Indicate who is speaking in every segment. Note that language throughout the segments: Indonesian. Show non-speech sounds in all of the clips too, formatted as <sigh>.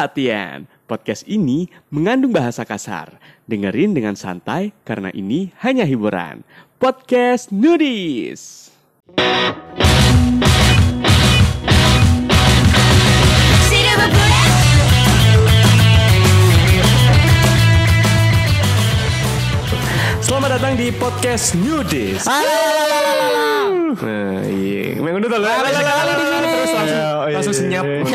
Speaker 1: Perhatian, podcast ini mengandung bahasa kasar. Dengerin dengan santai karena ini hanya hiburan. Podcast Nudis.
Speaker 2: Silver Bullet
Speaker 1: Selamat datang di podcast Nudis.
Speaker 3: Ah,
Speaker 1: Nah, iya. Memang udah tahu. Terus langsung
Speaker 3: Oh,
Speaker 1: langsung
Speaker 3: iya,
Speaker 1: senyap.
Speaker 3: <laughs>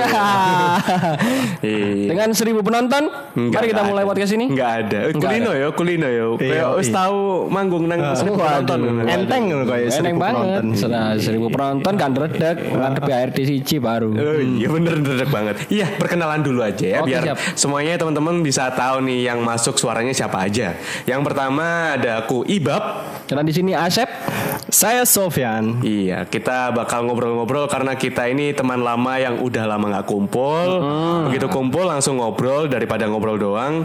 Speaker 1: Iya.
Speaker 3: Dengan seribu penonton, <laughs> mari kita mulai podcast ini.
Speaker 1: Enggak ada. Eh, Kulino yo, kulino yo.
Speaker 4: Iya,
Speaker 1: Kayak wis
Speaker 4: iya.
Speaker 1: tahu manggung nang
Speaker 3: Ah.
Speaker 1: seribu penonton.
Speaker 4: Enteng ngono kaya
Speaker 3: Eneng
Speaker 4: seribu
Speaker 3: banget.
Speaker 4: penonton.
Speaker 3: Sudah seribu penonton kan redek, ngarep HRD siji baru.
Speaker 1: Oh, iya bener bener banget. Iya perkenalan dulu aja ya
Speaker 3: Oke,
Speaker 1: biar
Speaker 3: siap.
Speaker 1: semuanya teman-teman bisa tahu nih yang masuk suaranya siapa aja. Yang pertama ada aku Ibab.
Speaker 3: Dan di sini Asep.
Speaker 4: Saya Sofyan.
Speaker 1: Iya kita bakal ngobrol-ngobrol karena kita ini teman lama yang udah lama nggak kumpul. Begitu kumpul langsung ngobrol daripada ngobrol doang.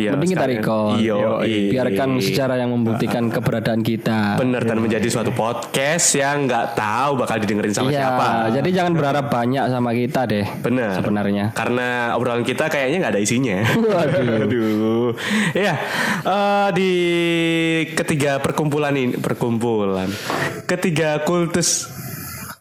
Speaker 1: Iya.
Speaker 3: Mending kita
Speaker 1: sekalian.
Speaker 3: record.
Speaker 1: Iyo, iya.
Speaker 3: Biarkan sejarah yang membuktikan keberadaan kita.
Speaker 1: bener dan menjadi suatu podcast yang nggak tahu bakal didengerin sama
Speaker 3: Iya,
Speaker 1: siapa.
Speaker 3: jadi jangan berharap banyak sama kita deh.
Speaker 1: Benar. <laughs>
Speaker 3: Sebenarnya.
Speaker 1: Karena obrolan kita kayaknya nggak ada isinya. Aduh. Ya, eh, di ketiga perkumpulan ini perkumpulan ketiga kultus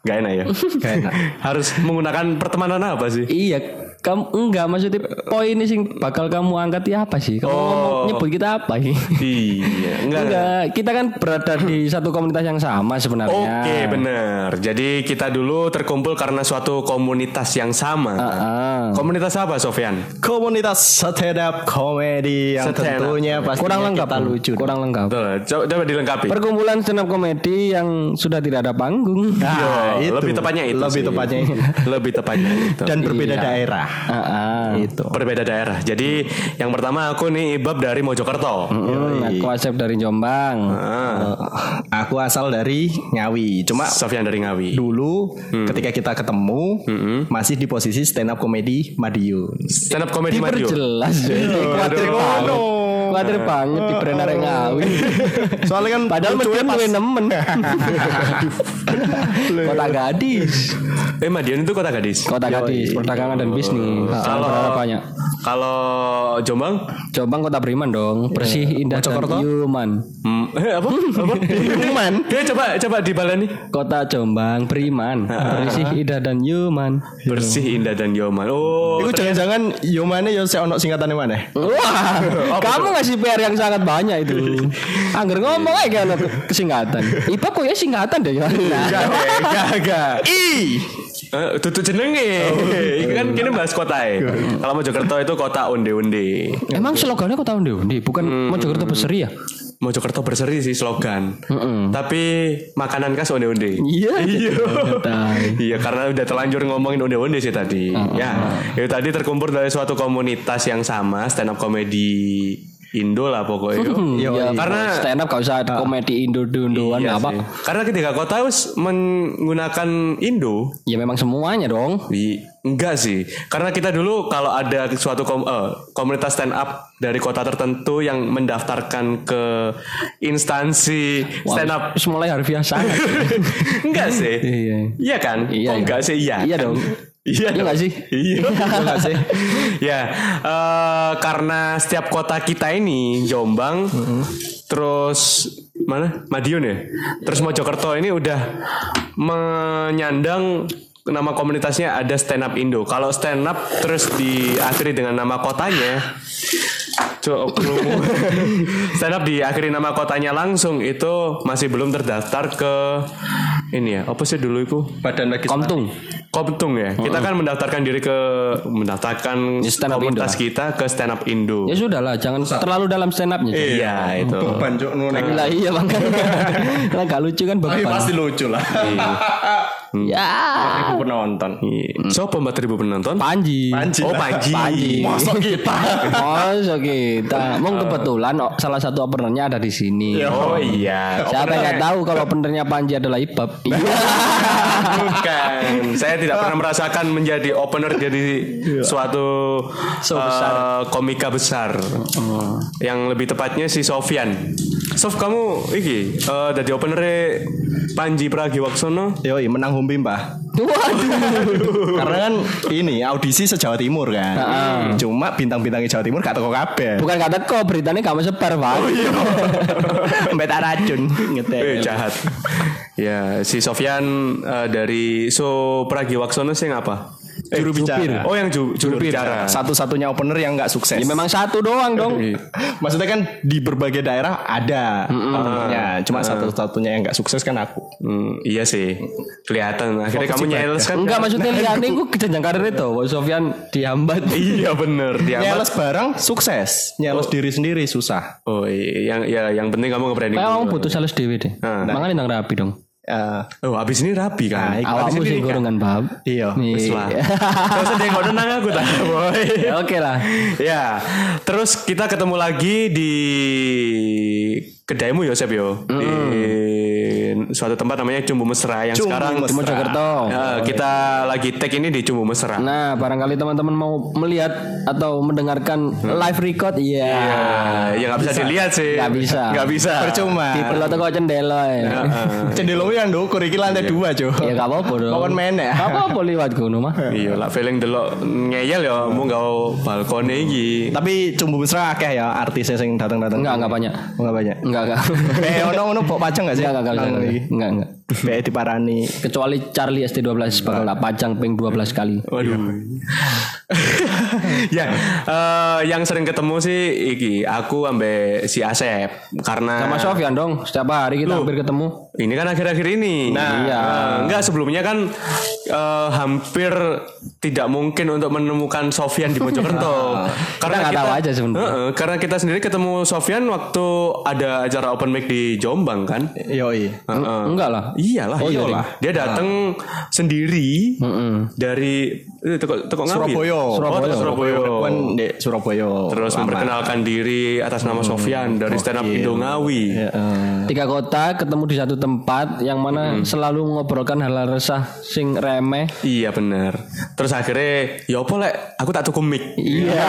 Speaker 1: Gak enak ya.
Speaker 4: Gak enak.
Speaker 1: Harus menggunakan pertemanan apa sih?
Speaker 3: Iya, kamu enggak maksudnya poin ini sing bakal kamu angkat ya apa sih? Kamu
Speaker 1: Oh.
Speaker 3: ngomong nyebut kita apa <laughs> sih?
Speaker 1: iya, enggak.
Speaker 3: Enggak, kita kan berada di satu komunitas yang sama sebenarnya.
Speaker 1: Oke, benar. Jadi kita dulu terkumpul karena suatu komunitas yang sama.
Speaker 3: Ah.
Speaker 1: Komunitas apa, Sofyan?
Speaker 4: Komunitas stand up comedy yang
Speaker 1: Stand up
Speaker 4: tentunya pasti
Speaker 3: kurang lengkap
Speaker 4: kita
Speaker 3: Bu.
Speaker 4: lucu.
Speaker 3: kurang lengkap
Speaker 1: Betul. Coba, coba dilengkapi.
Speaker 3: perkumpulan stand up komedi yang sudah tidak ada
Speaker 1: <laughs>
Speaker 3: panggung
Speaker 1: Yo,
Speaker 4: Ah, itu.
Speaker 1: Iya, lebih tepatnya itu.
Speaker 4: Lebih
Speaker 1: sih.
Speaker 4: tepatnya itu.
Speaker 1: <laughs> lebih tepatnya itu.
Speaker 4: Dan berbeda
Speaker 3: Iya.
Speaker 4: daerah. Gitu.
Speaker 3: Ah, ah.
Speaker 4: Itu.
Speaker 1: berbeda daerah. Jadi yang pertama aku nih Ibab dari Mojokerto.
Speaker 3: Hmm, aku Asep dari Jombang
Speaker 1: Ah,
Speaker 4: Aku asal dari Ngawi. Cuma
Speaker 1: Sofyan dari Ngawi. Hmm.
Speaker 4: dulu ketika kita ketemu masih di posisi stand up comedy Madiun.
Speaker 1: Stand up comedy Madiun.
Speaker 3: diperjelas jadi khawatir
Speaker 1: aduh.
Speaker 3: banget khawatir banget di brand arek
Speaker 1: <laughs>
Speaker 3: ngawi
Speaker 4: Soalnya kan
Speaker 3: padahal
Speaker 4: lucunya
Speaker 3: mungkin
Speaker 4: pas-
Speaker 3: gue nemen kota gadis
Speaker 1: Eh Madiun itu kota gadis.
Speaker 3: kota gadis perdagangan dan bisnis
Speaker 1: Kalau-
Speaker 3: kalau banyak
Speaker 1: Kalau Jombang? Iya. Oh,
Speaker 3: Jombang kota Beriman dong bersih indah dan human
Speaker 1: Hmm, eh, apa?
Speaker 4: <laughs>
Speaker 1: apa? Cuman. Dia coba coba dibalani.
Speaker 3: kota Jombang
Speaker 1: <laughs>
Speaker 3: Beriman bersih indah dan human
Speaker 1: Bersih, indah dan Yoman. Oh,
Speaker 4: Itu
Speaker 1: ternyata-
Speaker 4: jangan-jangan yo mana yo sik ono singkatannya mana?
Speaker 3: Wah, kamu ngasih PR yang sangat banyak
Speaker 1: <laughs>
Speaker 3: itu. Angger ngomong aja kalau kesingkatan. IPA kok ya singkatan deh
Speaker 1: <laughs>
Speaker 3: ya.
Speaker 1: Iya.
Speaker 4: Gak, gak.
Speaker 1: Eh, tutu jenenge. Iku kan kini bahas kota ya. Kalau Mojokerto itu kota onde-onde.
Speaker 3: Emang slogannya kok tahun deh, bukan
Speaker 1: Hmm.
Speaker 3: Mojokerto berseri ya?
Speaker 1: Mojokerto berseri sih slogan. Tapi makanan khas onde-onde.
Speaker 3: Iya.
Speaker 1: Iya.
Speaker 3: Tai.
Speaker 1: Iya karena udah terlanjur ngomongin onde-onde sih tadi. Ya, itu tadi terkumpul dari suatu komunitas yang sama stand up comedy Indo lah pokoknya.
Speaker 3: Iya,
Speaker 1: karena Ah.
Speaker 3: karena stand up gak usah komedi Indo Dundoan
Speaker 1: Iya
Speaker 3: apa.
Speaker 1: sih. Karena ketiga kota harus menggunakan Indo.
Speaker 3: Ya memang semuanya dong.
Speaker 1: Di, enggak sih. Karena kita dulu kalau ada suatu kom- eh, komunitas stand up dari kota tertentu yang mendaftarkan ke instansi
Speaker 3: Wah,
Speaker 1: stand up
Speaker 3: terus mulai harfiah sangat.
Speaker 1: <laughs> enggak sih.
Speaker 3: Iya.
Speaker 1: Iya kan?
Speaker 3: Iya,
Speaker 1: Kok
Speaker 3: iya.
Speaker 1: enggak sih? <laughs> Iya.
Speaker 3: Iya
Speaker 1: kan?
Speaker 3: dong.
Speaker 1: Iya
Speaker 3: Iya nggak
Speaker 1: dong.
Speaker 3: sih?
Speaker 1: Iya.
Speaker 3: <laughs> Iya nggak
Speaker 1: <laughs>
Speaker 3: sih?
Speaker 1: ya, eh, karena setiap kota kita ini Jombang, terus mana? Madiun ya. Terus Mojokerto ini udah menyandang nama komunitasnya ada stand up Indo. Kalau stand up terus diakhiri dengan nama kotanya, Coba perlu- <laughs> stand up diakhiri nama kotanya langsung itu masih belum terdaftar ke ini ya. Apa sih dulu itu?
Speaker 4: Badan lagi
Speaker 3: Komtung.
Speaker 1: Koptung ya. Kita kan mendaftarkan diri ke mendaftarkan
Speaker 3: Ya, Oh. stand up
Speaker 1: komunitas
Speaker 3: Indo
Speaker 1: kita ke stand up Indo.
Speaker 3: Ya sudah lah, jangan terlalu dalam stand upnya.
Speaker 1: Iya, itu.
Speaker 4: beban cuk ngono.
Speaker 3: Lah iya
Speaker 1: <laughs>
Speaker 3: bang. <laughs> Lah gak lucu kan
Speaker 4: Tapi
Speaker 3: bapak.
Speaker 4: pasti lucu lah.
Speaker 3: Ya.
Speaker 4: Aku penonton.
Speaker 3: Mm.
Speaker 1: Iya. So pembat ribu penonton.
Speaker 3: Panji.
Speaker 4: Panji.
Speaker 1: Oh <laughs> Panji.
Speaker 4: Masa kita.
Speaker 3: Masa kita Mung kebetulan oh, salah satu openernya ada di sini.
Speaker 1: Oh iya.
Speaker 3: Siapa yang nggak tahu kalau openernya Panji adalah Ibab.
Speaker 1: Nah.
Speaker 3: Iya.
Speaker 1: <laughs> Bukan. Saya tidak pernah merasakan menjadi opener jadi suatu
Speaker 3: Iya. So Oh.
Speaker 1: eh, komika besar. Yang lebih tepatnya si Sofyan. Sof kamu iki eh dari opener Panji Pragiwaksono.
Speaker 4: Yoi menang Humpi mbah Karena kan ini audisi sejawa timur kan. Cuma bintang-bintangnya Jawa Timur gak teko kabeh.
Speaker 3: Bukan kata kok beritanya kamu sebar pak <laughs>
Speaker 4: Mbeta racun
Speaker 1: Oh, iya. Eh
Speaker 4: ngetel.
Speaker 1: jahat. <laughs> ya si Sofyan eh, dari So Pragiwaksono sih apa? Eh,
Speaker 4: Juru bicara.
Speaker 1: Oh yang ju- juru, bicara.
Speaker 4: Satu-satunya opener yang gak sukses.
Speaker 3: Ya memang satu doang dong
Speaker 1: Iya.
Speaker 4: Maksudnya kan di berbagai daerah ada openernya. Cuma satu-satunya yang gak sukses kan aku.
Speaker 1: Hmm, iya sih. Kelihatan akhirnya
Speaker 4: Fokus
Speaker 1: kamu
Speaker 4: ibadah.
Speaker 1: nyeles kan.
Speaker 3: Enggak maksudnya liane gue kejenjang karir itu Pak Sofyan dihambat
Speaker 1: <laughs> iya <laughs> bener dia.
Speaker 4: Nyeles barang sukses,
Speaker 3: Oh.
Speaker 4: nyeles diri sendiri susah.
Speaker 1: Oh iya, yang ya yang penting kamu nge-branding.
Speaker 3: Kayak
Speaker 1: dulu.
Speaker 3: orang butuh sales dewe deh
Speaker 1: Nah.
Speaker 3: Makanya nang rapi dong
Speaker 4: Eh,
Speaker 1: Oh, habis ini rapi kan.
Speaker 4: Baik.
Speaker 1: Habis
Speaker 3: Awakmu
Speaker 1: ini
Speaker 3: sih
Speaker 1: nikah.
Speaker 3: gorengan bab
Speaker 4: Iya,
Speaker 1: Wis lah. Gak usah dengok tenang aku <laughs> tak, boy.
Speaker 3: <laughs> Ya, Oke lah
Speaker 1: ya, terus kita ketemu lagi di kedaimu Yosep yo. Di suatu tempat namanya Cumbu Mesra yang
Speaker 4: Cumbu
Speaker 1: sekarang
Speaker 4: Mesra. Cumbu
Speaker 3: Jogerto.
Speaker 1: Eh, kita lagi tag ini di Cumbu Mesra.
Speaker 3: Oh, Nah barangkali teman-teman mau melihat Atau mendengarkan live record Iya
Speaker 1: Ah, ya nggak bisa, dilihat sih.
Speaker 3: Nggak bisa.
Speaker 1: Nggak bisa.
Speaker 4: percuma.
Speaker 3: Nah, Di
Speaker 4: <laughs>
Speaker 3: perlu teko cendela ya
Speaker 1: Nah.
Speaker 4: Cendelongnya yang dukur iki lantai dua, Jo.
Speaker 3: Ya gak apa-apa dong
Speaker 4: Kawan meneh.
Speaker 1: ya.
Speaker 3: Gak
Speaker 1: <laughs>
Speaker 3: apa-apa liwat gunung mah
Speaker 1: Iya lah feeling delok ngeyel ya mau gak balkone iki.
Speaker 4: Tapi cumbu mesra akeh ya artisnya sing datang-datang.
Speaker 3: Enggak enggak banyak
Speaker 4: Enggak banyak.
Speaker 3: Enggak enggak
Speaker 4: Eh, ono ono bok pajang gak sih?
Speaker 3: Enggak enggak enggak,
Speaker 4: Nang
Speaker 3: enggak
Speaker 4: iki.
Speaker 3: Enggak enggak
Speaker 4: Be diparani.
Speaker 3: Kecuali Charlie ST12 bakal tak pajang ping 12 kali.
Speaker 1: Waduh.
Speaker 3: Iya.
Speaker 1: <laughs> ya, eh, yang sering ketemu sih iki aku ambe si Asep karena
Speaker 4: Ah.
Speaker 3: Sama Sofyan dong, setiap hari kita hampir ketemu.
Speaker 1: ini kan akhir-akhir ini. Nah,
Speaker 3: Iya.
Speaker 1: enggak sebelumnya kan eh, hampir tidak mungkin untuk menemukan Sofyan di Mojokerto.
Speaker 3: Kita nggak tahu aja sebenarnya.
Speaker 1: Heeh, karena kita sendiri ketemu Sofyan waktu ada acara open mic di Jombang kan.
Speaker 4: Yoi. ah.
Speaker 1: Heeh.
Speaker 3: Hmm, Enggak lah.
Speaker 1: Iyalah,
Speaker 3: Oh, iya,
Speaker 1: iyalah. Dia datang sendiri dari eh, teko, teko Ngawi ya?
Speaker 4: Surabaya.
Speaker 1: Oh,
Speaker 4: Surabaya.
Speaker 1: teko Surabaya.
Speaker 4: Kan di Surabaya.
Speaker 1: Terus
Speaker 4: Lama.
Speaker 1: memperkenalkan diri atas nama Sofyan dari stand up Indo Ngawi.
Speaker 4: Ya, eh.
Speaker 3: Tiga kota ketemu di satu tempat yang mana selalu ngobrolkan hal-hal resah sing remeh.
Speaker 1: Iya bener Terus akhirnya Ya apa lek Aku tak tuku mic
Speaker 3: Iya.